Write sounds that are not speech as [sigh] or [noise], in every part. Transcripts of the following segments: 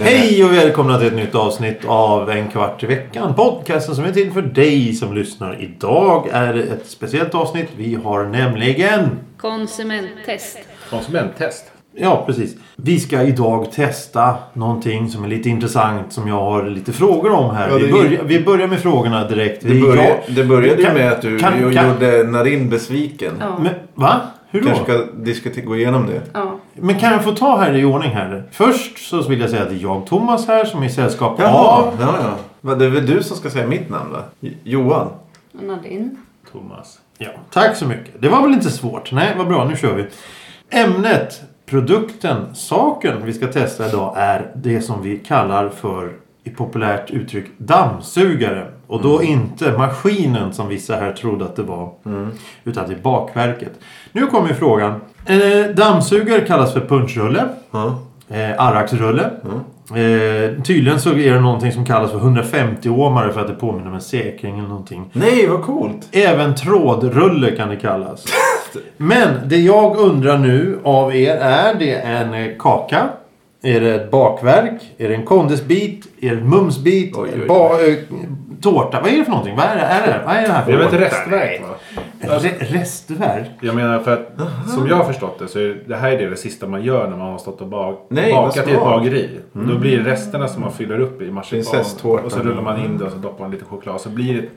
Eh. Hej och välkomna till ett nytt avsnitt av En kvart i veckan. Podcasten som är till för dig som lyssnar. Idag är det ett speciellt avsnitt. Vi har nämligen... Konsumenttest. Konsumenttest. Ja, precis. Vi ska idag testa någonting som är lite intressant som jag har lite frågor om här. Ja, det- vi, börjar, vi börjar med frågorna direkt. Det, Vi- började, jag- det började ju Kan- med att du kan- ju kan- gjorde Narin besviken. Ja. Men, va? Hur då? Kanske ska diskutera, gå igenom det. ja. Men kan jag få ta här i ordning här? Först så vill jag säga att det är jag, Thomas här, som är i sällskap Ja, av... ja, ja. Va, Det är väl du som ska säga mitt namn va? J- Johan. Och Nadine. Thomas. Ja, tack så mycket. Det var väl inte svårt? Nej, vad bra. Nu kör vi. Ämnet, produkten, saken vi ska testa idag är det som vi kallar för i populärt uttryck dammsugare. Och då inte maskinen som vissa här trodde att det var. Utan det är bakverket. Nu kommer frågan. Eh, dammsugare kallas för punchrulle. Ja. Eh, Arraksrulle. Eh, tydligen så är det någonting som kallas för 150-åmare för att det påminner om en säkring eller någonting. Nej, vad coolt! Även trådrulle kan det kallas. Men det jag undrar nu av er är det en eh, kaka? Är det ett bakverk? Är det en kondisbit? Är det en mumsbit? Oj, oj, oj. Ba- eh, tårta? Vad är det för någonting? Vad är det, är det, vad är det här för Det är väl ett något? restverk va? Re- restverk? Jag menar för att som jag har förstått det så är det här är det, det sista man gör när man har stått och bak, Nej, vad bakat i ett smart. Mm. bageri. Då blir det resterna som man fyller upp i marsipan. Prinsesstårtan. Och så rullar man in det och så doppar man lite choklad. Så blir det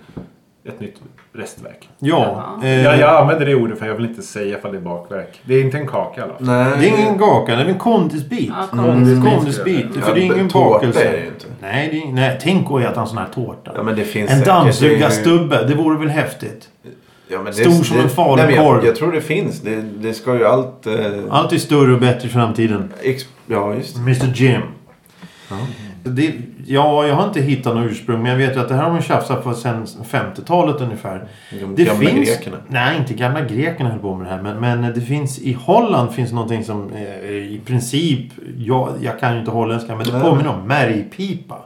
ett nytt restverk. Ja. eh, Ja, jag använder det ordet för jag vill inte säga ifall det är bakverk. Det är inte en kaka i alla fall. Nej. Det är ingen kaka, det är en kondisbit. Mm, Ja, kondisbit. kondisbit. Ja, För det är ingen tårta bakelse. är det ju inte. Nej, det är, ing- nej, tänk att äta en sån här tårta. Ja, men det finns en säkert. dammsugarstubbe, det vore väl häftigt? Ja, men Stor som en falukorv. Nej, men jag, jag tror det finns. Det, det ska ju allt... Eh, Allt är större och bättre i framtiden. exp- ja, just det. Mr Jim. Det, ja, jag har inte hittat något ursprung men jag vet ju att det här har man tjafsat på sedan 50-talet ungefär. De Det gamla finns, grekerna. Nej, inte gamla grekerna höll på med det här. Men, men det finns i Holland finns någonting som eh, i princip, jag, jag kan ju inte holländska, men det Nej. påminner om märgpipa.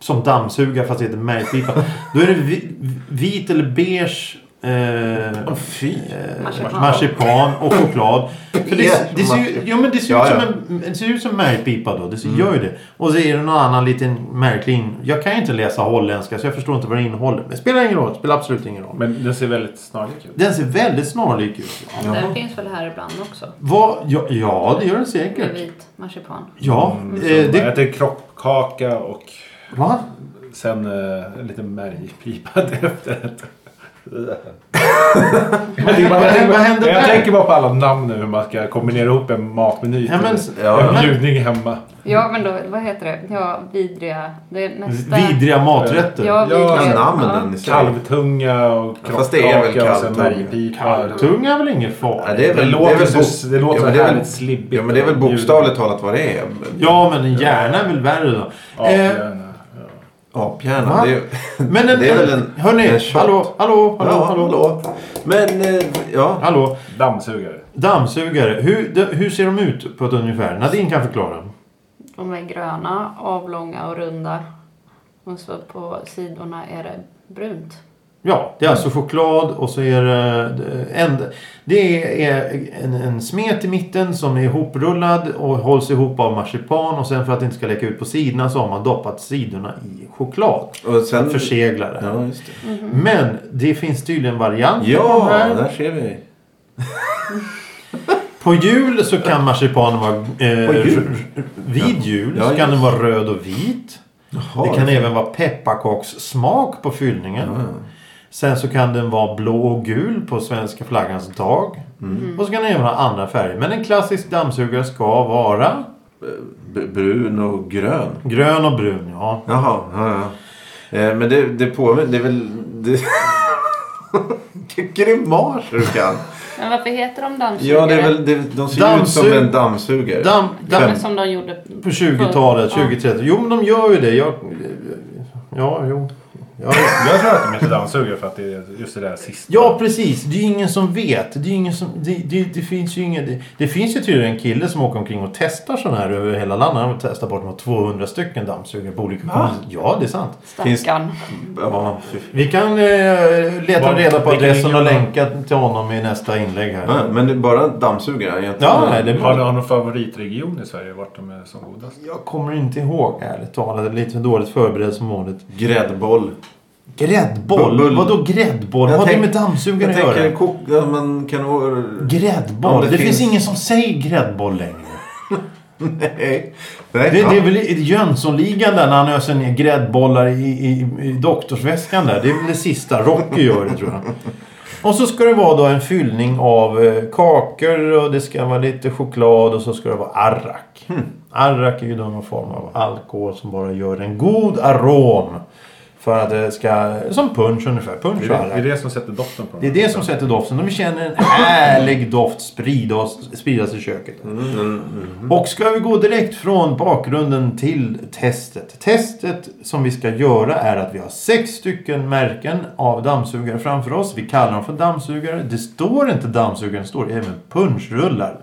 Som dammsugare fast det heter märgpipa. Då är det vi, vit eller beige eh, Fy. marsipan. och choklad. För det, det, ser, ju, ja, men det ser Ja, ut som ja. Mm. en det ser ut som en märgpipa då. Det ser, gör ju det. Och så är det någon annan liten märklig... in- Jag kan ju inte läsa holländska så jag förstår inte vad det innehåller. Men det spelar ingen roll. Det spelar absolut ingen roll. Men den ser väldigt snarlik Eh, ut. Den ser väldigt snarlik ut. Den finns väl här ibland också. Vad, ja, ja, det gör den Med säkert. vit marsipan. Ja, Mm, eh, Jag det... äter kroppkaka och Va? sen eh, en liten [laughs] märgpipa efterrätt. Vad händer vad händer Men jag där? tänker bara på alla namn nu hur man ska kombinera ihop en matmeny Ja, men- till ja, en men- bjudning hemma. Ja, men då, vad heter det? Ja, vidriga. Det mesta. Vidriga maträtter. Ja, Ja, vidriga. namnen i sig. Kalvtunga och Ja, fast det är väl kroppkaka och sen kalvtunga. märgpipa. Kalvtunga är väl ingen fara? Ja, det är Det väl, låter det är väl så- bok- det låter ja, men det är väl- härligt slibbigt. Ja, men det är väl bokstavligt talat vad det är. Ja, men en hjärna är väl värre då. Ja, Eh, gärna. Va? Aphjärna. Det, är- men en, det är väl en... en... Hörni, en shot. hallå, hallå, hallå, Ja, hallå. hallå. Men, eh, ja. hallå. Dammsugare. Dammsugare, hur, de, hur ser de ut på ett ungefär? Nadine kan förklara. De är gröna, avlånga och runda. Och så på sidorna är det brunt. Ja, det är alltså Mm. choklad och så är det eh, en, det är en, en smet i mitten som är ihoprullad och hålls ihop av marsipan och sen för att det inte ska läcka ut på sidorna så har man doppat sidorna i choklad. Och sen... Förseglar det. Mm. Ja, just det. Men det finns tydligen varianter på Ja, de här. där ser vi. På jul så kan marsipanen vara... Eh, På jul? r- r- Vid jul Ja, så kan just. den vara röd och vit. Jaha. det kan även vara pepparkakssmak på fyllningen. Sen så kan den vara blå och gul på svenska flaggans dag. Och så kan den även ha andra färger. Men en klassisk dammsugare ska vara Eh, B- Brun och grön. grön och brun. Ja. Jaha, ja, ja. Eh, Men det, det påminner... Det är väl... Det... [laughs] Vilka grimaser du kan. Men varför heter de dammsugare? Ja, det är väl... Det, de ser ut som Dammsug- en dammsugare. Damm, Ja, damm, men som de gjorde på 20-talet, förr. 20-30. Jo men de gör ju det. Jag, ja, jo. Ja, Jag tror att de heter dammsugare för att det är just det där sista. ja, precis. Det är ju ingen som vet. Det, är ju ingen som, det, det, det finns ju ingen... Det, det finns ju tydligen en kille som åker omkring och testar sådana här över hela landet. Han testar bortemot 200 stycken dammsugare på olika kommuner. Ja, det är sant. Finns- Stackarn. Ja, fy- Vi kan eh, leta Var- reda på vilken adressen linje och var- länka till honom i nästa inlägg här. Ja, men bara dammsugare? Jag, Ja, nej, det är Har ni bra. har någon favoritregion i Sverige vart de är som godast? Jag kommer inte ihåg ärligt talat. Jag är Lite dåligt förberedd som vanligt. Gräddboll. Gräddboll? Bull- Vadå gräddboll? Jag Vad har det tänk- med dammsugare Jag att göra? tänker kok... Ja, men kan du... Gräddboll? Om det det finns finns- ingen som säger gräddboll längre. Nej. Det, Nej. ja. det är väl i Jönssonligan där när han öser ner gräddbollar i, i, i doktorsväskan där. Det är väl det sista. Rocky gör det tror jag. Och så ska det vara då en fyllning av eh, kakor och det ska vara lite choklad och så ska det vara arrak. Hm. Arrak är ju då någon form av alkohol som bara gör en god arom. För att det ska... Som punch ungefär. Punch och Det är det, arrak. det, är det som sätter doften på dem. Det är det som sätter doften. De känner en härlig doft spridas, spridas i köket. Och ska vi gå direkt från bakgrunden till testet. Testet som vi ska göra är att vi har sex stycken märken av dammsugare framför oss. Vi kallar dem för dammsugare. Det står inte dammsugare, det står även punschrullar.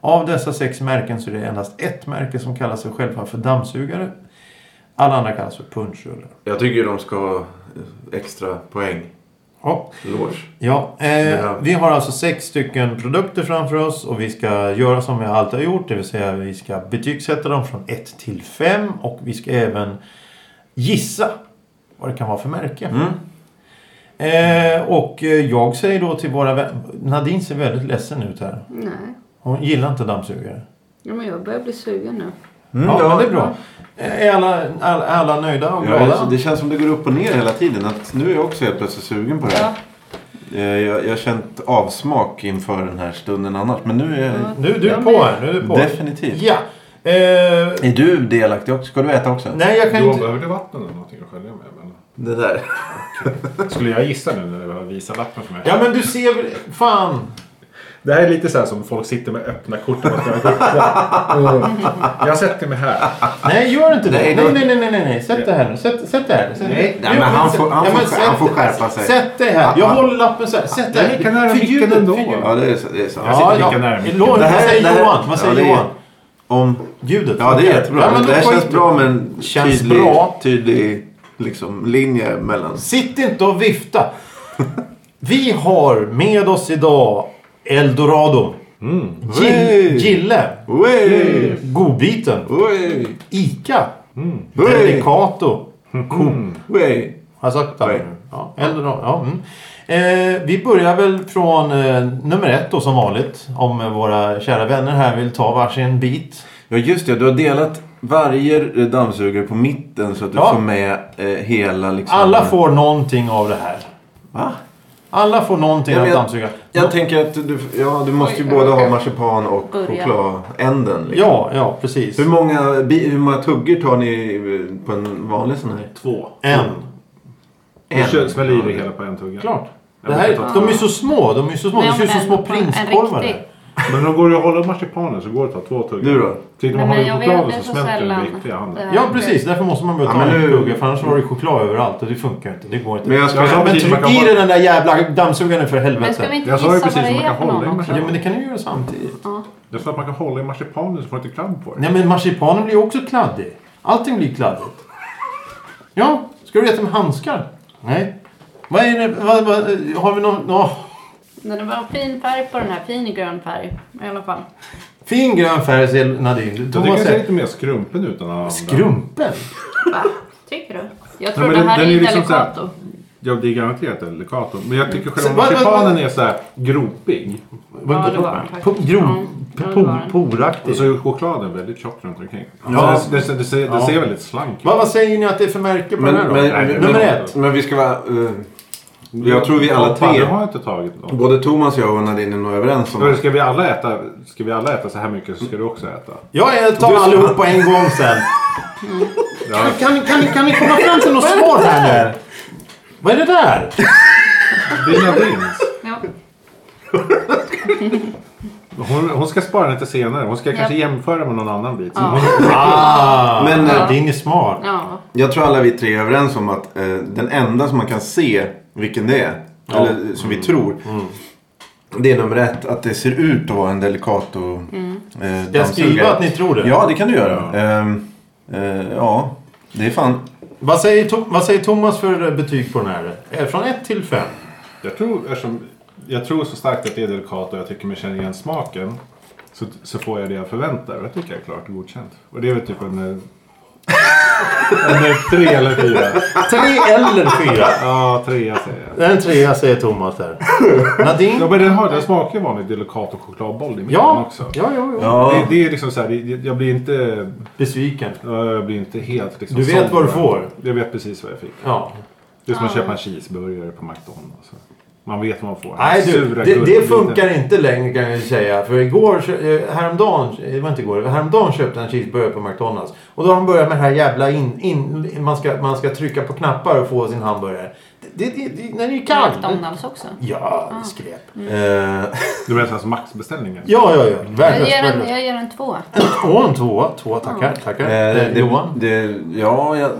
Av dessa sex märken så är det endast ett märke som kallar sig själva för dammsugare. Alla andra kallas för punschrullar. Jag tycker de ska ha extra poäng. Ja. Lås. Ja, eh, Ja. vi har alltså sex stycken produkter framför oss och vi ska göra som vi alltid har gjort. Det vill säga vi ska betygsätta dem från 1 till 5 och vi ska även gissa vad det kan vara för märke. Mm. Eh, och eh, jag säger då till våra vänner... Nadine ser väldigt ledsen ut här. Nej. Hon gillar inte dammsugare. Ja, men jag börjar bli sugen nu. Mm, ja, men det är bra. Eh, Är alla, alla, alla nöjda och glada? Ja, alltså, det känns som det går upp och ner hela tiden. Att nu är jag också helt plötsligt sugen på det här. Eh, Jag, jag har känt avsmak inför den här stunden annars. Men nu är jag Nu, du är Ja, på men- här. Nu är du på. definitivt. Ja. Eh, Är du delaktig också? Ska du äta också? nej, jag kan Då inte... behöver du vatten eller någonting att skölja med. Men... Det där. Skulle jag gissa nu när du har visat lappen för mig? Ja, men du ser väl... Fan! Det här är lite så här som folk sitter med öppna kort. Och öppna kort. Mm. Jag sätter mig här. Nej, gör inte det. Nej, Nej, nej, då- nej, nej, nej, nej. Sätt det här nu. Sätt, sätt det här. Sätt, Nej, nej, men han får- han får- sätt- han får skärpa sig. Sätt det här. Jag håller lappen så här. Sätt det här. Nej, kan höra För micken ljudet, ändå. för ljudet. Ja, det är så. Det är så. Ja, sitter ja. lika nära micken. Låt- Det Vad här- det säger här- Johan? Vad ja, säger det är- Johan? Om... Ljudet. Ja, det är funkar. jättebra. Ja, men det här skit känns i- bra med en Känns tydlig, bra. tydlig liksom, linje mellan. Sitt inte och vifta. Vi har med oss idag Eldorado. Mm. Gill, Hey. Gille. Oj! Godbiten. Oj! Ica. Mm. Oj! Delicato. Coop. Oj! Har jag sagt Oj. det? Ja, eller då, ja, mm. eh, Vi börjar väl från eh, nummer ett då som vanligt. Om eh, våra kära vänner här vill ta varsin bit. Ja just det, du har delat varje dammsugare på mitten så att du Ja. får med eh, hela liksom... Alla får någonting av det här. Va? Alla får någonting Ja, men av jag- dammsugaren. Jag tänker att du, ja, du måste ju Oj, både jag ha råkar marsipan och börja. chokladänden. Liksom. Ja, ja precis. Hur många, bi- hur många tuggor tar ni eh, på en vanlig sån här? Två. En. Du kör- smäller i dig hela på en tugga. Klart. Jag Det här, brukar ta de är så små. De är så små. Nej, De ser ut men som en- små på en- en prinskorvar. riktig. Men om går det att hålla marsipanen så går det att ta två tuggor. Du då? Tycker Nej, man har men en jag choklad vet, så det är så smälter den sällan. i riktiga handen. Det- Ja precis, därför måste man börja Ja, ta men en nu- plugga för annars var det choklad överallt och det funkar inte. Det går inte. Men jag ska- Ja, Jag men tycker man tryck kan i bara- dig den där jävla dammsugaren för Men ska vi helvete. inte Jag sa gissa vad ju precis det att man är kan för hålla i någon också? Ja men det kan du göra samtidigt. Det är för att man kan hålla i marsipanen så får man inte kladd på det. Nej men marsipanen blir ju också kladdig. Allting blir kladdigt. Ja, ska du äta med handskar? Nej. Vad är det? Vad, vad, har vi någon... åh, Men det var en fin färg på den här. Fin grön färg i alla fall. fin grön färg ser Nadine. Jag tycker Thomas den ser säger lite mer skrumpen ut än alla andra. skrumpen. Va? Tycker du? Jag tror men det den- här den är är ju liksom så här- delicato. Ja, det är garanterat delicato. Men jag tycker Så själva vad- vad- marsipanen är så här gropig. Ja, det var den faktiskt. Po- Grov... Ja, po- det var den. Poraktig. Och så är chokladen väldigt tjock runt omkring. Ja. Ja. Det, det, det, ser, det ser väldigt slank ut. Vad, vad säger ni att det är för märke på Men, den här då? men, Nej, men, Nummer men, ett. men vi ska vara... eh, jag tror vi Fan, alla tre, det har jag inte tagit någon. både Thomas, jag och Nadine är nog överens om Men Ska vi, alla äta, ska vi alla äta så här mycket så ska du också äta. Jag tar Du- allihop på en gång [laughs] sen. Ja. Kan, kan, kan ni komma fram till något svar här nu? Vad är det [laughs] där? Det är Nadines. Ja. Hon, hon ska spara den till senare. Hon ska kanske jämföra med någon annan bit. Ja. Ah, Men, men eh, din är smart. Ja. Jag tror alla vi tre är överens om att eh, den enda som man kan se vilken det är, Ja. Mm. eller som vi tror, det är nummer ett. Att det ser ut att vara en Delicato mm. eh, Ska jag skriva dammsugare. att ni tror det? Ja, det kan du göra. Ehm, eh, ja, det är fan... Vad, säger Tom, vad säger Thomas för betyg på den här? Eh, Från 1 till 5? Jag tror, eftersom, jag tror så starkt att det är delikat och jag tycker mig känna igen smaken. Så, så får jag det jag förväntar och det tycker jag är klart godkänt. Och det är väl typ en... [laughs] eh, en eh, tre eller fyra. 3 eller 4? Ja, trea säger jag. Det är en trea säger Thomas där. Nadine? Ja, men den, har, den smakar ju vanlig delikat och chokladboll i mitten Ja, också. ja, ja, ja. Ja, Det, det är liksom så här, det- jag blir inte, Besviken. jag blir inte helt liksom Du vet såld. vad du får. Jag vet precis vad jag fick. Ja. Det är som att köpa en cheeseburgare på McDonalds. Man vet vad man får. Nej du, Sura det, det guldbitar. funkar inte längre kan jag ju säga. För igår, kö- eh, häromdagen, eh, det var inte igår, häromdagen köpte jag en cheeseburgare på McDonalds. Och då har de börjat med det här jävla in, in, man, ska, man ska trycka på knappar och få sin hamburgare. Det, det, det, det, den är ju kall. McDonalds också. Ja, skräp. Mm. eh, Det blir en sån här maxbeställning. Ja, ja, ja. Jag Värdelöst. ger en, värdelöst. jag ger en tvåa. Åh, en tvåa. Tvåa, tackar. Tackar. Eh, Eh, det, Johan? det, ja, jag...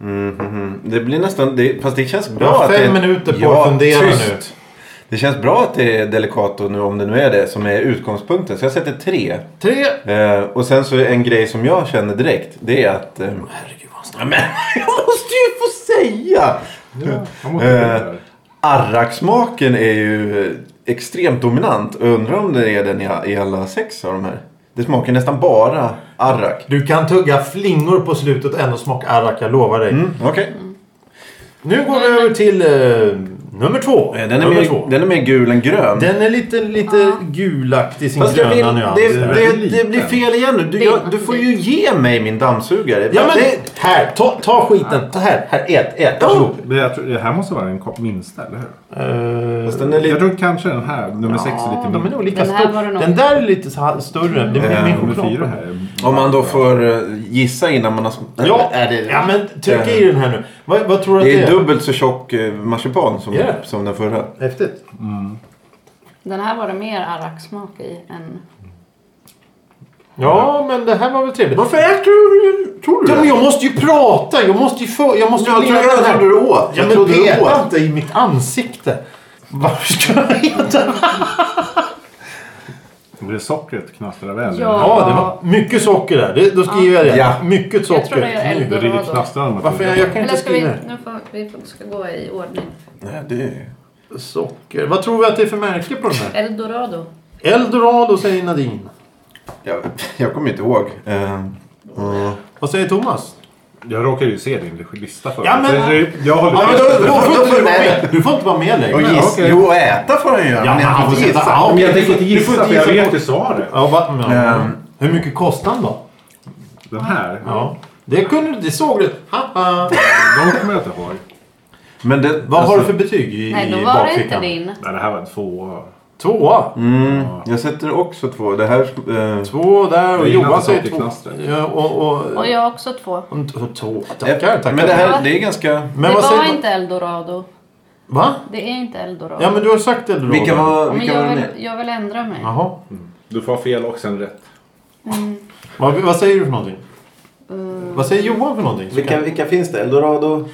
Mm, mm, mm. Det blir nästan... Det, fast det känns Du bra har att det fem minuter på att fundera nu. Det känns bra att det är Delicato nu, om det nu är det, som är utgångspunkten. Så jag sätter tre. Tre. Eh, och sen så är en grej som jag känner direkt, det är att... Eh, Herregud vad ja, men [laughs] jag måste ju få säga! Ja, man måste Eh, göra. Arraksmaken är ju eh, extremt dominant. Jag Undrar om det är den i, i alla sex av de här. Det smakar nästan bara arrak. Du kan tugga flingor på slutet och ändå smaka arrak, jag lovar dig. Mm, Okej. Nu går vi över till eh, nummer två. Eh, Den, är nummer mer- den är mer gul än grön. Den är lite, lite gulaktig i sin Fast jag gröna vill, nyans. det, det, liten. det blir fel igen nu. Du, Det- jag, du får ju ge mig min dammsugare. Ja men det, här, ta, ta skiten. Ta här, här, ät, ät. Varsågod. Men jag tror, det här måste vara en kopp minsta, eller hur? Eh, fast den är Jag lite... tror kanske den här, nummer sex, är lite de är mindre. nog lika Den här var det stor. nog. Den där är lite så här större. Det blir Eh, min Nummer fyra choklad. här. är- Om man då får eh, gissa innan man har... sm- Ja, Är det, ja, men tryck i den här nu. Vad, vad tror du att Det det är är? dubbelt så tjock eh, marsipan som, Yeah. som den förra. Häftigt. Den här var det mer arraksmak i än... Ja, men det här var väl trevligt. äter du, tror Ja, men jag måste ju prata. Jag måste ju få... Jag måste ju Jag leda trodde den jag här. trodde du åt. Ja, Jag men trodde du peta åt. inte i mitt ansikte. Varför ska jag äta? Det blir sockret knastrar väl. Ja. Ja, det var mycket socker där. Det, då skriver jag det. Ja. Mycket Jag tror socker. det är Nu. Det äldre rider då. knastrarna mot Varför? Jag, jag kan Eller inte ska vi... skriva det. Nu får, vi får- ska gå i ordning. Nej, det är... Socker. Vad tror vi att det är för märke på den här? Eldorado. Eldorado säger Nadine. Jag, [laughs] jag kommer inte ihåg. Eh, eh. Vad säger Thomas? Jag råkade ju se din lista förut. Ja, men- Så det- Jag håller Ja, men fast då, vid då, det. får då inte får du vara du- med. Du får inte vara med Och längre. giss, okej. Jo, äta får han göra. Ja, men han han får får sätta- gissa. ja, Men okej. jag tänker inte Du får gissa, inte för jag gissa vet på- ju svaret. Ja, va, ja. Ehm. Hur mycket kostar den då? Den här, Ja. Det kunde du. Det såg du. Haha. de kommer jag inte ihåg. Men det, Vad har du alltså, för betyg i, Nej, då i var det bakfickan? inte din. Nej, det här var en tvåa. Tvåa. mm, Jag sätter också två. Det här... eh, Två där och Det är Johan innan säger det två. knastrar. Ja, och, och, Och jag har också två. och, och två. Tackar, tackar. Eh, Men det här det är ganska... Men det vad var säger inte Eldorado. Va? Det är inte Eldorado. Ja, men du har sagt Eldorado. Vilka var, Men vilka var jag, det vill, med? jag vill ändra mig. Jaha. Du får ha fel och sen rätt. Vad, vad säger du för någonting? Eh. Vad säger Johan för någonting? Vilka, vilka finns det? Eldorado?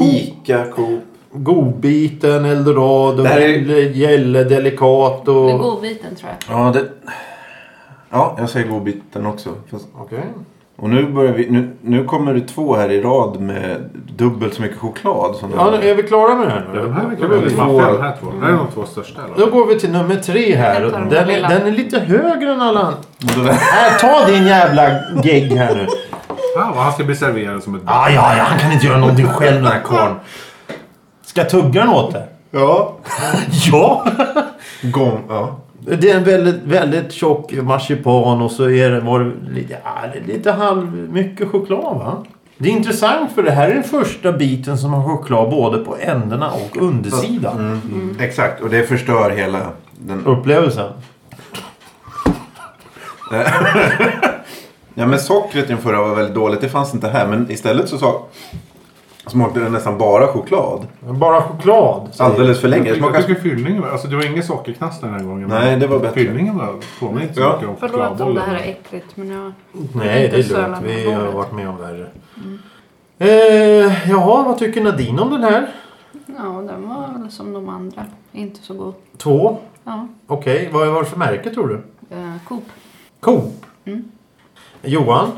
Ica, Coop. Godbiten, Eldorado, Det här är- Gälle- Gälle, Delicato. Det är Okej. godbiten tror jag. Ja, det... Ja, jag säger godbiten också. Fast... Och nu börjar vi... Nu, nu kommer det två här i rad med dubbelt så mycket choklad som det Ja, var. nu är vi klara med det här Ja, nu? de här verkar Då går vara vi- lite maffiga de här två. Det här är de två största. eller? Då går vi till nummer tre här. Jag tar den Den är, lilla. den är lite högre än alla andra. Och då- Äh, ta din jävla gegg här nu. Ah, och han ska bli serverad som ett Ah, ja, ja, han kan inte göra någonting själv den här karln. Ska jag tugga den åt dig? Ja. [laughs] Ja! Gång. Ja. Det är en väldigt, väldigt tjock marsipan och så är det, var det lite, ja, det är lite halv, mycket choklad va? Det är intressant för det här är den första biten som har choklad både på ändarna och undersidan. Mm. Exakt. Och det förstör hela den... Upplevelsen. Ja, men sockret i den förra var väldigt dåligt. Det fanns inte här. Men istället så sa... Smakade den nästan bara choklad? Bara choklad. säger Alldeles för länge. Jag Det tycker, jag smakade... tycker fyllningen var... Alltså det var ingen sockerknast den här gången. Nej, det var bättre. Fyllningen var... Påminner inte så Ja. mycket om Förlåt om det här är chokladbollen. äckligt men jag... Nej, det Lite är lugnt. sölan Vi på har bordet. varit med om värre. Mm. Eh, jaha, vad tycker Nadine om den här? Ja, den var väl som de andra. Inte så god. Två. Ja. Okej, vad var det för märke tror du? Eh, Coop. Coop. Mm. Johan?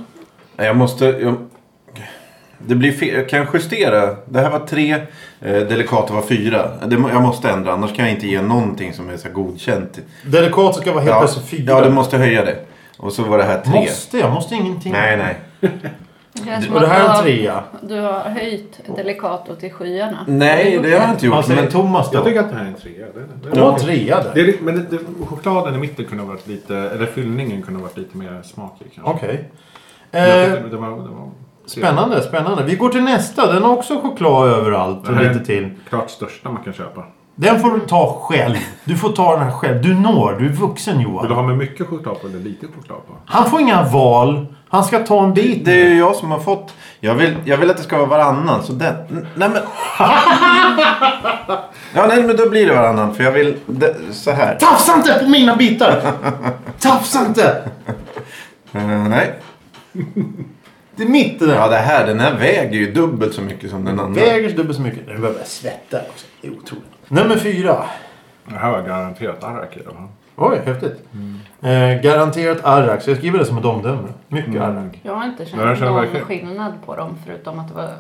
Nej, Jag måste... Jag... Det blir fel. Jag kan justera. Det här var tre. Eh, Delikata var fyra. Det, må- jag måste ändra. Annars kan jag inte ge någonting som är så här godkänt. Delikat ska vara helt plötsligt fyra. ja, du måste höja det. Och så var det här tre. Måste jag? Måste ingenting? Nej, nej. Det känns Mm. som Och det att här du är en trea. har- Du har höjt Delicato till skyarna. Har du Nej, gjort det har jag inte Vad gjort. säger Men Alltså, Thomas då? Jag tycker att det här är en trea. Det, det, Det var en trea det där. är, li- men det, det, chokladen i mitten kunde ha varit lite... Eller fyllningen kunde ha varit lite mer smakig kanske. Okej. Jag Eh, tyckte det var, det var spännande, spännande. Vi går till nästa. Den har också choklad överallt och Nej. lite till. klart största man kan köpa. Den får du ta själv. Du får ta den här själv. Du når. Du är vuxen Vill du Johan. ha med mycket choklad på eller lite choklad på? Han får inga val. Han ska ta en bit. det är ju jag som har fått. Jag vill, jag vill att det ska vara varannan. Så den... Nej, men... [laughs] Ja, nej, men då blir det varannan. För jag vill... Det, så här. Tafsa inte på mina [laughs] bitar! Tafsa inte! Eh, nej. Det är mitt det där. Ja, det här, den här väger ju dubbelt så mycket som den andra. Väger dubbelt så mycket. Nu börjar jag svetta också. Det är otroligt. Nummer fyra. Det här var garanterat arrak i alla fall. Oj, häftigt. Mm. Eh, garanterat arrak. Så jag skriver det som ett omdöme. Mycket Mm. arrak. Jag har inte Ja, jag känt känner någon verkligen. skillnad på dem förutom att det var...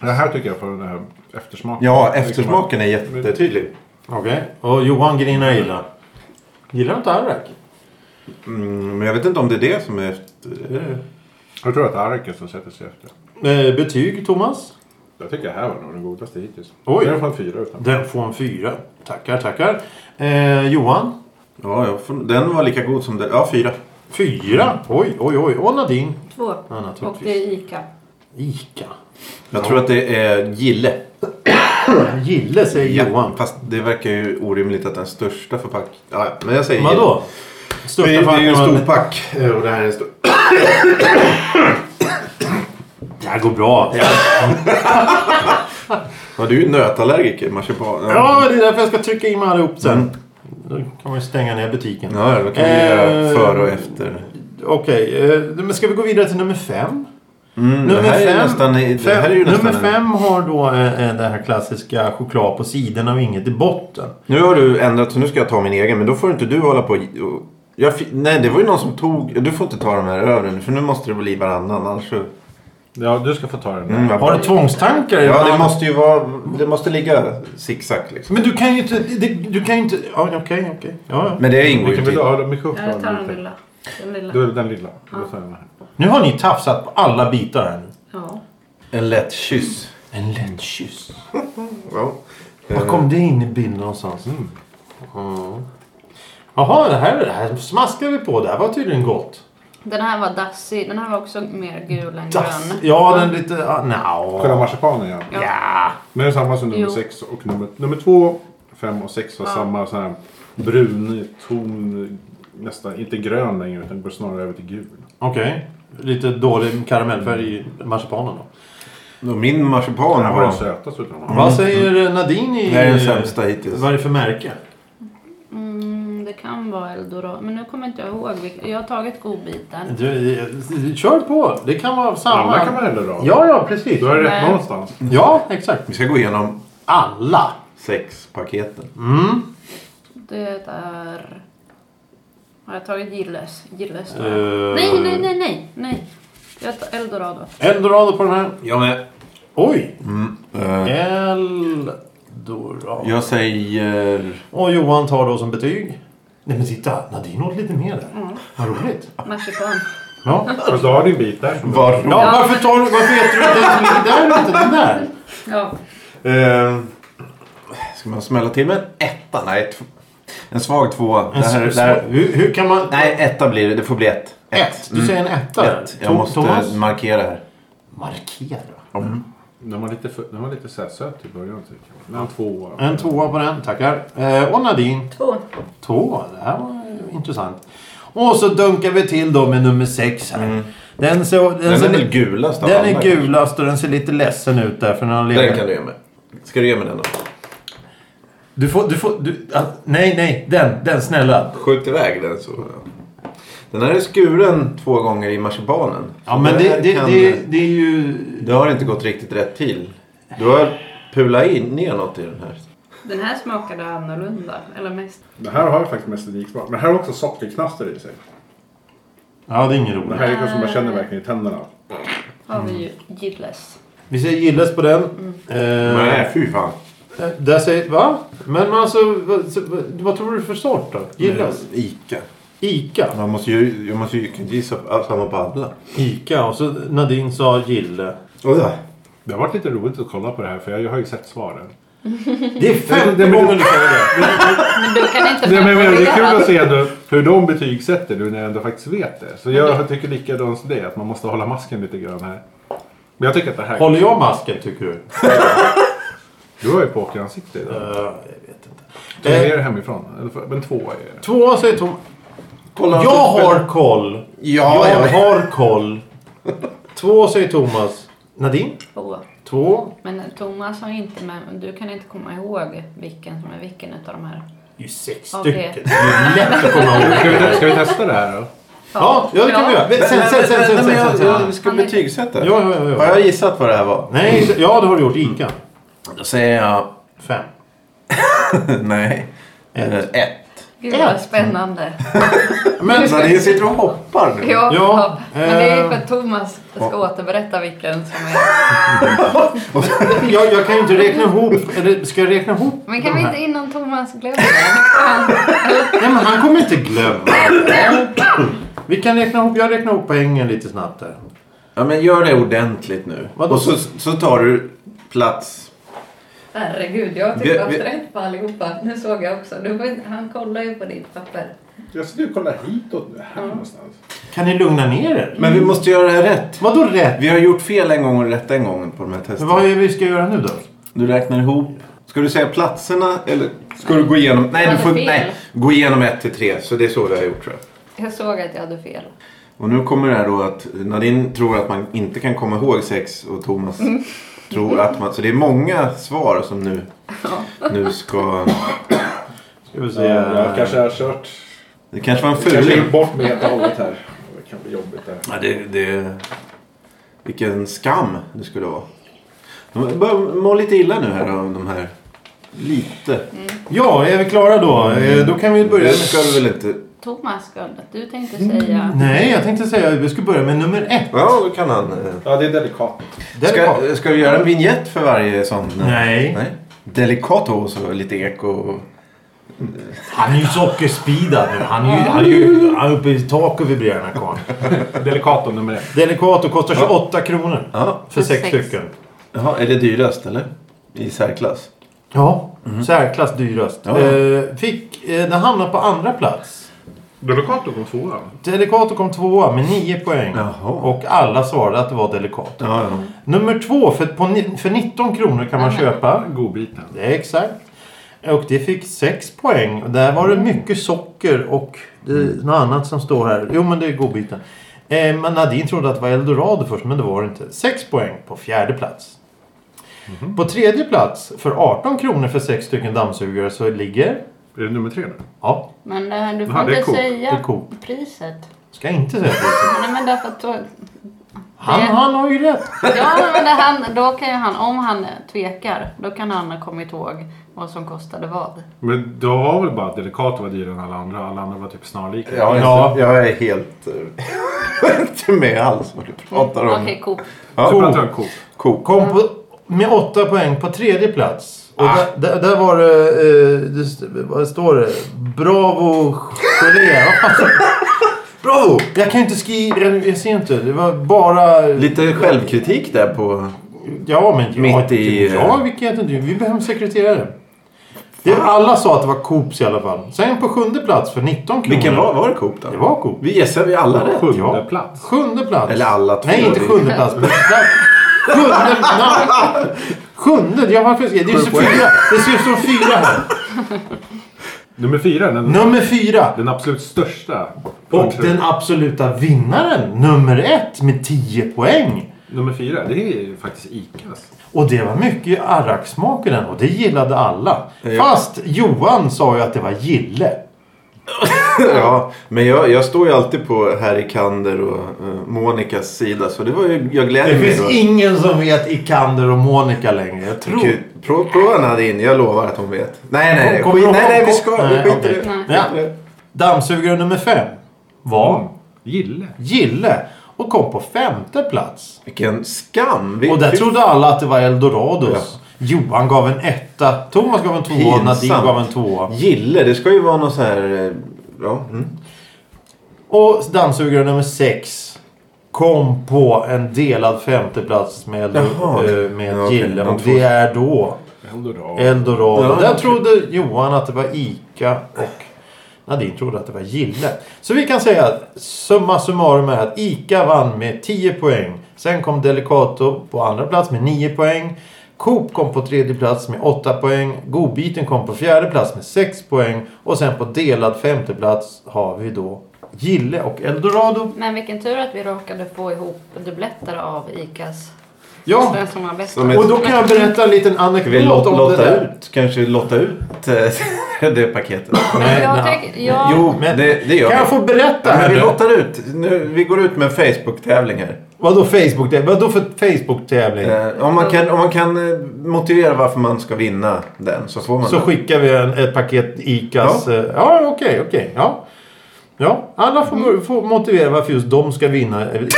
Det här tycker jag får den här eftersmaken. Ja, eftersmaken är jättetydlig. Okej. Och Johan grinar illa. Gillar du inte arrak? Mm, men jag vet inte om det är det som är efter... är det- Liksom. Jag tror att arrak är som sätter sig efter. Eh, betyg, Thomas? Jag tycker det här var nog den godaste hittills. Oj. Den får en fyra utan. Den får en fyra. Tackar, tackar. Eh, Johan? Ja, jag får... den var lika god som den. Ja, fyra. Mm. Fyra? Oj, oj, oj. Och Nadine? Två. Ja, Och naturligtvis. det är Ica. Ica. Jag tror att det är gille. Gille säger Johan. Ja, fast det verkar ju orimligt att den största förpack... Ja, men jag säger gille. Vadå? Det är, det är ju en förpackningen- stor pack. eh, Och det här är en stor... Det här går bra. Ja. Ja, du är ju nötallergiker. Man köper... ja, det är därför jag ska trycka in mig allihop sen. Då kan man ju stänga ner butiken. Mm. Ja, då kan vi göra Eh, före och efter. Okej, eh, men ska vi gå vidare till nummer fem? Mm, Nummer det här är fem- nästan... Det här är ju Fem- nästan nummer en- fem har då eh, eh, den här klassiska choklad på sidorna och inget i botten. Nu har du ändrat så nu ska jag ta min egen. Men då får inte du hålla på och... jag fi- Nej, det var ju någon som tog... Du får inte ta de här övre nu, för nu måste det bli varannan. Annars så... Ja, du ska få ta den. där. Mm, vad Har bra. du tvångstankar? Ja, det måste ju vara... Det måste ligga zigzag liksom. Men du kan ju inte... Det, du kan ju inte... Ja, Okej, okej. Ja, ja. Men det ingår ju Vilken vill till... du ha? Har du mycket choklad? Jag tar den eller lite? lilla. Den lilla. Du, den lilla. Då tar jag den här. Nu har ni tafsat på alla bitar här nu. Ja. En lätt kyss. En lätt kyss. Ja. Var kom det in i bilden någonstans? Mm. Ja. Jaha, det här, det här smaskar vi på. Det här var tydligen gott. Den här var dassig. Den här var också mer gul än Das, grön. ja, den lite... Ah, Kolla Nja. marsipanen ja. Ja. Ja. Men det är samma som nummer Jo. sex och nummer, nummer två, fem och sex har samma sån här brun ton. Nästan inte grön längre utan går snarare över till gul. Okej. Lite dålig karamellfärg i marsipanen då. Då Min Den marsipan här var den var... sötaste utav dem. Vad säger Nadine i... Det här är den sämsta hittills. Vad är det för märke? Mm, det kan vara eldorado. Men nu kommer inte jag ihåg. vilken- Jag har tagit godbiten. Du, eh, kör på. Det kan vara samma. Alla kan man ändå dra. Ja, ja, precis. Du har rätt Nej. någonstans. Ja, exakt. Vi ska gå igenom Alla. sex paketen. Mm. Det är... Har jag tagit Gilles? Gilles då? Eh. Nej, nej, nej, nej, nej. Jag tar Eldorado. Eldorado på den här. Jag med. Oj! Eh, Eldorado. Jag säger... Och Johan tar då som betyg. Nej men titta, Nadine åt lite mer där. Vad roligt. Marsipan. Ja. Fast du har din bit där. som- Var... ja, varför tar du... Varför äter du inte den som ligger där och inte den där? Ja. Eh, ska man smälla till med en etta? Nej, tw- en svag tvåa. En Det här, s- det här, Hur, hur kan man... nej, etta blir det. Det får bli ett. Ett. Du säger en etta. där. Mm. Ett. Jag Tom- måste Thomas? markera här. Markera. Den var lite, för, den var lite så här söt i början tycker jag. Men två En tvåa på den, tackar. Eh, och Nadine, Två. två. Det här var ju intressant. Och så dunkar vi till då med nummer sex här. Den, ser, den, Mm. Den ser, är väl gulast av den alla, är kanske? gulast och den ser lite ledsen ut där för när han Den kan lever. du ge mig. Ska du ge mig den då? Du får, du får, du, ah, nej, nej, den, den snälla. Skjut iväg den så. Den här är skuren två gånger i marsipanen. Ja men det, här det, kan- det, det är ju... det har inte gått riktigt rätt till. Du har pulat in ner något i den här. Den här smakade annorlunda. Eller mest. Det här har jag faktiskt mest unik smak. Men det här har också sockerknaster i sig. Ja det är inget Det roligt. här är liksom, man känner verkligen i tänderna. Har Mm. vi ju Gilles. Vi säger gilles på den. Eh, Nej, fy fan. eh, Där säger... Va? Men alltså, vad, så- vad- vad tror du för sort då? Gilles? Ica. Ica? Man måste ju, jag måste ju kunna gissa på, samma på alla. Ica och så Nadine sa gille. Oh, ja. Det har varit lite roligt att kolla på det här för jag har ju sett svaren. Det är Det- femte det- gången du säger det. Men du kan inte Nej, men, men, det är kul att se ändå hur de betygsätter nu när jag ändå faktiskt vet det. Så jag tycker likadant som det, att man måste hålla masken lite grann här. Men jag tycker att det här... Håller jag masken tycker du? Du har ju pokeransikte idag. Eh, jag vet inte. Tog Eh, ner det hemifrån. Eller för- Men två är det. Två säger Tom. Kolla, Jag har koll. Ja, jag jag vet. har koll. Två säger Thomas. Nadine? Två. Två. Men Thomas har inte med, du kan inte komma ihåg vilken som är vilken utav de här. Det är ju sex Okej. stycken. Det är lätt att komma ihåg. Ska vi, te- ska vi testa det här då? Ja, ja det kan vi göra. Sen, sen, sen, sen, sen, sen, sen. Jag ska Han är- betygsätta. Ja, ja, ja, ja. Har jag gissat vad det här var? Nej, det- ja det har du gjort. Ica. Då säger jag... Fem. [laughs] Nej. Ett. Eh, Ett. Gud vad spännande. Men... Så det sitter och hoppar nu. Ja, Ja, men det är ju för eh. att Thomas ska återberätta vilken som är. Jag, jag kan ju inte räkna ihop. Eller ska jag räkna ihop? Men kan vi de här? inte innan Thomas glömmer? det? Nej, men han kommer inte glömma. Vi kan räkna ihop. Jag räknar ihop poängen lite snabbt där. Ja, men gör det ordentligt nu. Vadå? Och så, så tar du plats. Herregud, jag har typ Vi- haft vi- rätt på allihopa. Nu såg jag också. Du, får inte- han kollar ju på ditt papper. Jag ska ju kolla hitåt nu. Här någonstans. Kan ni lugna ner er? Men vi måste göra det här rätt. Vadå rätt? Vi har gjort fel en gång och rätt en gång på de här Men Vad är testerna. det vi ska göra nu då? Du räknar ihop. Ska du säga platserna eller ska du gå igenom? Nej, Jag du hade får fel. nej, gå igenom ett till tre. Så det är så vi har gjort tror jag. Jag såg att jag hade fel. Och nu kommer det här då att Nadine tror att man inte kan komma ihåg sex och Thomas tror att man... Så det är många svar som nu, nu ska... Ska vi se. Jag kanske har kört... Det kanske var en Jag kanske fuling. gjort bort mig helt och hållet här. Det kan bli jobbigt där. Ja, det, det... Vilken skam det skulle vara. De börjar må lite illa nu här av de här. Lite. Ja, är vi klara då? Mm. Eh, Då kan vi börja Det med... ska du väl inte... Thomas, Gunnar, du tänkte säga... Nej, jag tänkte säga att vi ska börja med nummer ett. Ja, då kan han... eh. Ja, det är delikat. Där är Ska, vi. ska vi göra en vignett för varje sån? Nej. Nej. Delicato och så lite eko. Han är ju sockerspeedad nu. Han är ju, han är ju han är uppe i tak och vibrerar den här karln. Delicato nummer ett. Delicato kostar 28 kronor. Ja. För sex Sex. stycken. Jaha, är det dyrast eller? I särklass? Ja, särklass dyrast. Ja. Eh, Fick... eh, Den hamnade på andra plats. Delicato kom tvåan. Delicato kom tvåa med 9 poäng. Jaha. Och alla svarade att det var Delicato. Ja, ja. Nummer två, för, på, ni- för 19 kronor kan man köpa. Godbiten. Det är exakt. Och det fick 6 poäng. Och Där var det mycket socker och det, är något annat som står här. Jo, men det är godbiten. Eh, men Nadine trodde att det var Eldorado först, men det var det inte. 6 poäng på fjärde plats. På tredje plats, för 18 kronor för 6 stycken dammsugare, så ligger... Är det nummer tre nu? Ja, Men eh, du får Ja, det är inte Coop. det är säga Coop. priset. Ska inte säga [laughs] det. Nej, men därför att då, Han, han har ju rätt. ja, men det, han, då kan ju han, om han tvekar, då kan han ha kommit ihåg vad som kostade vad. Men då var väl bara att Delicato var dyrare än alla andra. Alla andra var typ snarlika. Jag, är Ja. inte, jag är helt... eh, [laughs] inte med alls vad du pratar om. Okej, Coop. Ja, Jag pratar om Coop. Coop. Kom på, med åtta poäng på tredje plats. Ah. Och där, där, där var det, eh, det... st- Vad står det? Bravo Gelé. Vad fan- [laughs] Bravo! Jag kan ju inte skriva... Jag, jag ser inte. Det var bara... Lite självkritik där på... Ja, men... ja, Mitt i, eh, Ja, vilket inte. Vi behöver en sekreterare. Det, alla sa att det var Coops i alla fall. Sen på sjunde plats för 19 kronor. Vilken var, var det Coop då? Det var Coop. Vi gissar vi alla rätt. Sjunde Ja. plats. Sjunde plats. Eller alla två. Nej, inte sjunde plats. Men- Sjunde... nej. Sjunde? Jag har fel. Det är så fyra. Det ser ut som fyra här. Nummer fyra, den, Nummer fyra. den absolut största. Och den absoluta vinnaren, nummer ett, med 10 poäng. Nummer fyra, det är ju faktiskt ICAs. Och det var mycket arraksmak i den och det gillade alla. Ja. Fast Johan sa ju att det var gille. [laughs] ja, men jag, jag står ju alltid på Harry Kander och eh, Monikas sida. Så det var ju, jag gläder Det mig. finns då. ingen som vet Ikander och Monica längre. Jag tror... Gud, pro- Prova den här in, jag lovar att hon vet. Nej, nej, nej. Kommer Skit, de- nej, nej vi ska. Nej, vi skiter i okej. det. Nej. Ja. Skiter i det. Dammsugare nummer fem var Mm. Gille. Gille och kom på femte plats. Vilken skam. Vi, Och där fy- trodde alla att det var Eldorados. Johan gav en etta, Thomas gav en tvåa och Nadine Pinsamt. gav en tvåa. Gille, det ska ju vara någon så här... eh, Ja. Mm. Och dammsugare nummer sex kom på en delad femteplats med, Jaha. eh, med Ja, okej. Gille. De Och två- det är då Eldorado. Eldorado. Ja, Där okej. trodde Johan att det var Ica och Nadine trodde att det var Gille. Så vi kan säga att summa summarum är att Ica vann med 10 poäng. Sen kom Delicato på andra plats med 9 poäng. Coop kom på tredje plats med 8 poäng. Godbiten kom på fjärde plats med 6 poäng. Och sen på delad femte plats har vi då Gille och Eldorado. Men vilken tur att vi råkade få ihop dubbletter av ICAs. Ja, Den som var bäst. Som ett- och då kan jag berätta en liten Ska vi anekdot lot, om det lotta där. ut? Kanske lotta ut eh, [laughs] det paketet? Men jag Nej, tycker... Jag, Jo, men det, det gör Kan jag vi. få berätta? Men här vi nu? lottar ut. Nu, vi går ut med en Facebook-tävling här. Vadå Facebook? Vadå för Facebook-tävling? Eh, om, man kan, om man kan eh, motivera varför man ska vinna den så får man Så den. skickar vi en, ett paket ICAs... Ja, ja okej, okej. ja. ja, alla får, får motivera varför just de ska vinna. Eh, I,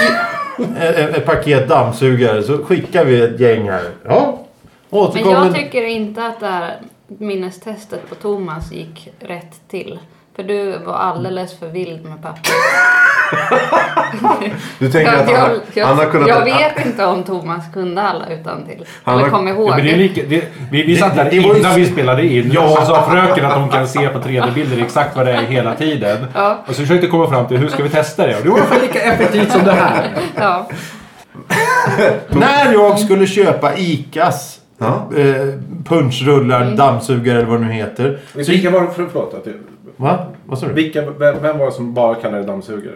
ett, ett paket dammsugare så skickar vi ett gäng här. Ja. Men Återkommer... jag tycker inte att det här minnestestet på Thomas gick rätt till. För du var alldeles för vild med papper. Du tänker att han, jag, jag, han har kunnat... jag vet inte om Thomas kunde alla utan till. Han Eller har- kom ihåg. Ja, men det är lika, det, vi, vi satt Det- där det var ju- innan vi spelade in Ja. och så sa fröken att hon kan se på 3D-bilder exakt vad det är hela tiden. Ja. Och så försökte jag komma fram till hur ska vi testa det? Och det var ungefär lika effektivt som det här. [laughs] ja. När jag skulle köpa ICAs Ja. eh, punchrullar, Mm. dammsugare eller vad det nu heter. Så, Vilka var det, för, förlåt, att det- va? Vad sa du? vilka, vem, vem var det som bara kallade det dammsugare?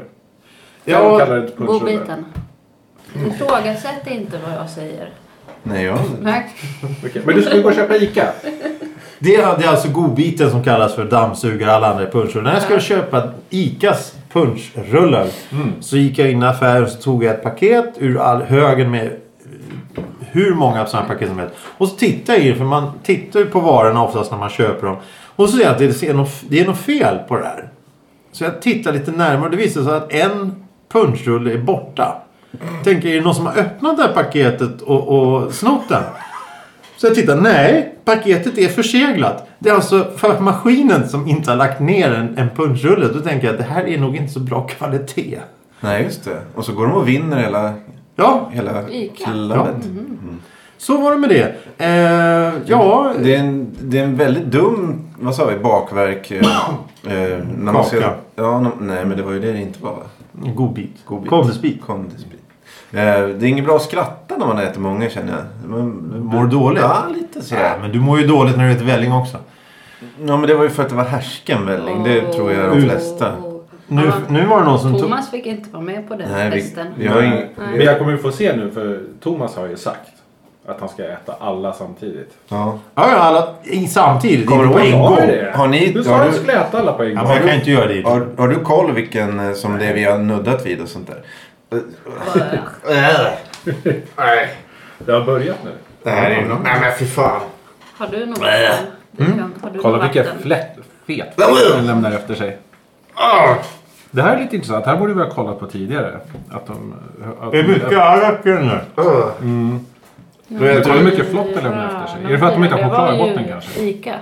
Vem Ja, kallade det punschrulle? Godbiten. Ifrågasätt inte vad jag säger. Nej, jag... Nej. Okej, Men du skulle gå och köpa ICA? det, är, det är alltså godbiten som kallas för dammsugare. Alla andra är punchrullar. När jag skulle köpa ICAs punchrullar. Så gick jag in i affären och så tog jag ett paket ur all högen med eh, hur många sådana här paket som helst. Och så tittade jag i det, för man tittar ju på varorna oftast när man köper dem. Och så ser jag att det är något, det är något fel på det här. Så jag tittar lite närmare och det visar sig att en punschrulle är borta. Tänker, är det någon som har öppnat det här paketet och, och snott den? Så jag tittar, nej, paketet är förseglat. Det är alltså för maskinen som inte har lagt ner en, en punschrulle. Då tänker jag, det här är nog inte så bra kvalitet. Nej, just det. Och så går de och vinner hela, Ja, hela Ica. klubbet. Mm. så var det med det. Eh, ja, Det, är en, det är en väldigt dum, vad sa vi, bakverk. eh, eh, när man Kaka. ser, ja, n- nej, men det var ju det det inte var. va? en god bit. Godbit. Kondisbit. Kondisbit. Eh, det är inget bra att skratta när man äter många känner jag. Man, Mår du dåligt? Mm. Ja, lite Ja, sådär. men du mår ju dåligt när du äter välling också. Ja, men det var ju för att det var härsken välling. Mm. Det tror jag de Ut. flesta. Nu, Ja. nu var det någon som tog... Thomas fick inte vara med på den Nej, vi- festen. vi har ingen- Men jag kommer ju få se nu för Thomas har ju sagt att han ska äta alla samtidigt. Ja. Ja, ja, alla i- samtidigt. Kommer inte du på ihåg en vad gång. det Ja, är? Har ni- du har sa att du- du skulle äta alla på en gång. men jag kan inte göra det. Har, har du koll vilken eh, som det är vi har nuddat vid och sånt där? eh, Nej. Det har börjat nu. eh. Det här är ju något... Nej men fy fan. Har du något? Mm. Har du Kolla något vilken vatten? flätt, fet den lämnar efter sig. Ah! Det här är lite intressant. här borde vi ha kollat på tidigare. Att de, att Det är mycket de, arrak i den där. Men kolla hur Mm. mycket flopp de lämnar efter sig. Är det för att de inte har Det var choklad i ju botten kanske? Ica.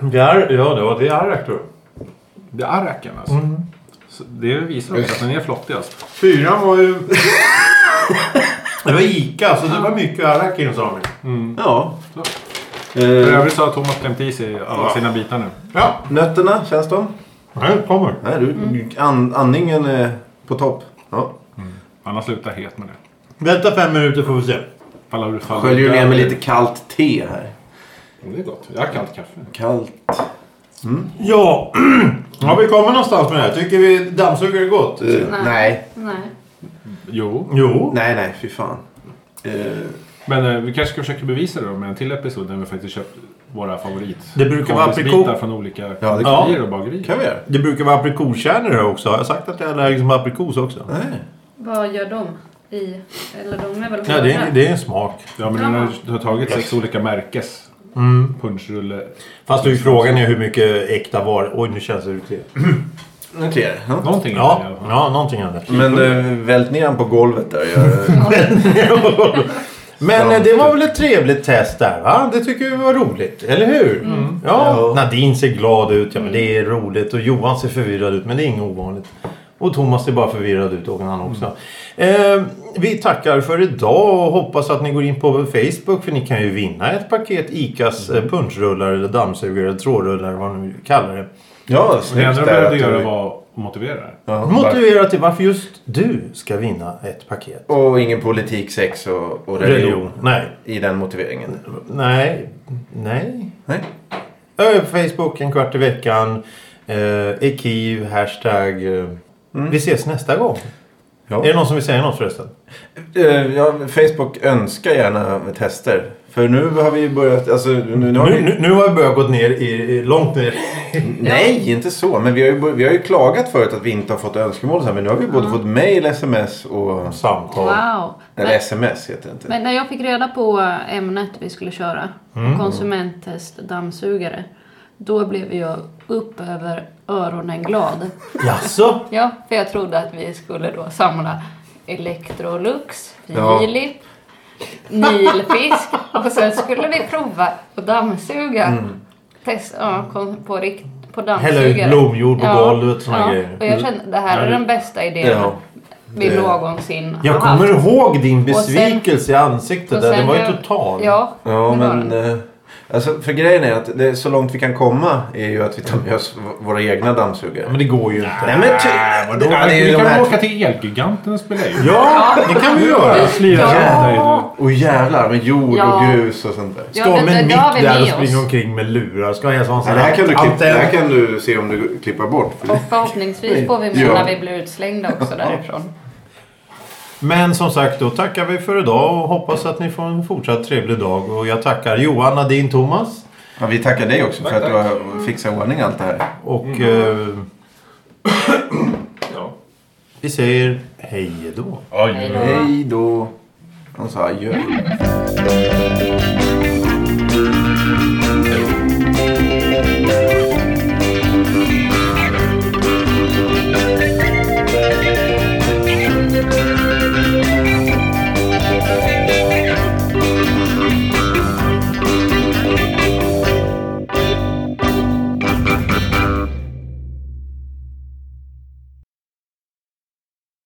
Det är, ja, det var det är arrak tror jag. Det är arraken alltså. Mm. Så det visar också att den är flottigast. Fyran var ju... [laughs] det var Ica, så det var mycket arrak i den sa ni. Ja. För Eh, övrigt så har Thomas klämt i sig alla Ah. sina bitar nu. Ja, nötterna, känns de? det kommer. Nej, du, an, andningen är på topp. Ja. Han har slutat het med det. Vänta fem minuter får vi se. Faller du faller Sköljer ner med lite kallt te här. Det är gott. Jag har kallt kaffe. Kallt. [clears throat] Ja. Har vi kommit någonstans med det här? Tycker vi dammsugare är gott? Eh, Nej. nej. Nej. Jo. Jo. Nej, nej, fy fan. Eh, Men eh, vi kanske ska försöka bevisa det då med en till episod där vi faktiskt köpt våra favorit. Det brukar vara Kompisbitar aprikos. från olika Ja, kan- det bagerier och bagerier. kan vi göra? Det brukar vara aprikoskärnor i det också. Har jag sagt att jag är allergisk mot aprikos också? Nej. Vad gör de? I... Eller de är väl Ja, det är, hårda? det är en smak. Ja, men Ja. du har tagit sex olika märkes Mm. punschrulle. Fast du, frågan är hur mycket äkta var... Oj, nu känns det ut. Nu till er. Ja. Någonting Ja, i alla fall. ja, någonting hade. Men eh, vält ner han på golvet där och [laughs] gör... Men eh, det var väl ett trevligt test där va? Det tycker vi var roligt, eller hur? Ja. Ja. Nadine ser glad ut, ja men det är roligt. Och Johan ser förvirrad ut, men det är inget ovanligt. Och Thomas ser bara förvirrad ut, och han också. Mm. Eh, vi tackar för idag och hoppas att ni går in på Facebook för ni kan ju vinna ett paket ICAs Mm. eh, punchrullar eller dammsugare eller trådrullar vad ni kallar det. Ja, Och Det snyggt enda du där behövde att du- göra var att motivera det. Ja, Motivera till varför just du ska vinna ett paket. Och ingen politik, sex och, och religion, Nej. i den motiveringen. Nej. Nej. Nej. Ö, Facebook en kvart i veckan. Eh, Ekiv, hashtag. Eh. Vi ses nästa gång. Mm. Ja. Är det någon som vill säga något förresten? Eh, ja, Facebook önskar gärna tester. För nu har vi ju börjat... Alltså, nu, nu har Nu, vi... nu, nu har vi börjat gått ner i, i, långt ner. Nej, inte så. Men vi har, ju, bör- vi har ju klagat förut att vi inte har fått önskemål. Så här, men nu har vi både fått mail, sms och... Samtal. Wow. Eller Men, sms heter det inte. men när jag fick reda på ämnet vi skulle köra, Mm. konsumenttest dammsugare, då blev jag upp över öronen glad. Jaså? Ja, för jag trodde att vi skulle då samla Electrolux, Ja. Filip, Nilfisk och sen skulle vi prova att dammsuga. Test, ja, kom på, rikt, på dammsugare. Mm. Hälla ut blomjord på golvet, såna grejer. Och jag kände det här är den bästa idén Ja. vi Det- någonsin Jag har haft. kommer ihåg din Och sen- besvikelse i ansiktet Och där. sen Den var ju hur- total. Ja, Ja, det var men... den. eh, Alltså, för grejen är att det, så långt vi kan komma är ju att vi tar med oss v- våra egna dammsugare. Men det går ju inte. Nej men ty... Då, Ja, det är ju vi de kan här... åka till Elgiganten och spela in. Ja, det kan vi göra. Slirar Ja. runt där inne. Och jävlar med jord Ja. och grus och sånt där. Ja, Stormen men det- det mitt har vi där med och springer oss. omkring med lurar. Ska jag ha en sån Ja, här det, här kan du klippa, det antenn? här kan du se om du klipper bort. för Och det- förhoppningsvis får vi med Ja. när vi blir utslängda också därifrån. Men som sagt, då tackar vi för idag och hoppas att ni får en fortsatt trevlig dag. Och jag tackar Johan, Nadine, Thomas Ja, vi tackar dig också för Tack, att du har fixat i ordning allt det här. och eh, Ja. vi säger hej då. Oj, Hej då. Hej då. Han sa adjö. Hej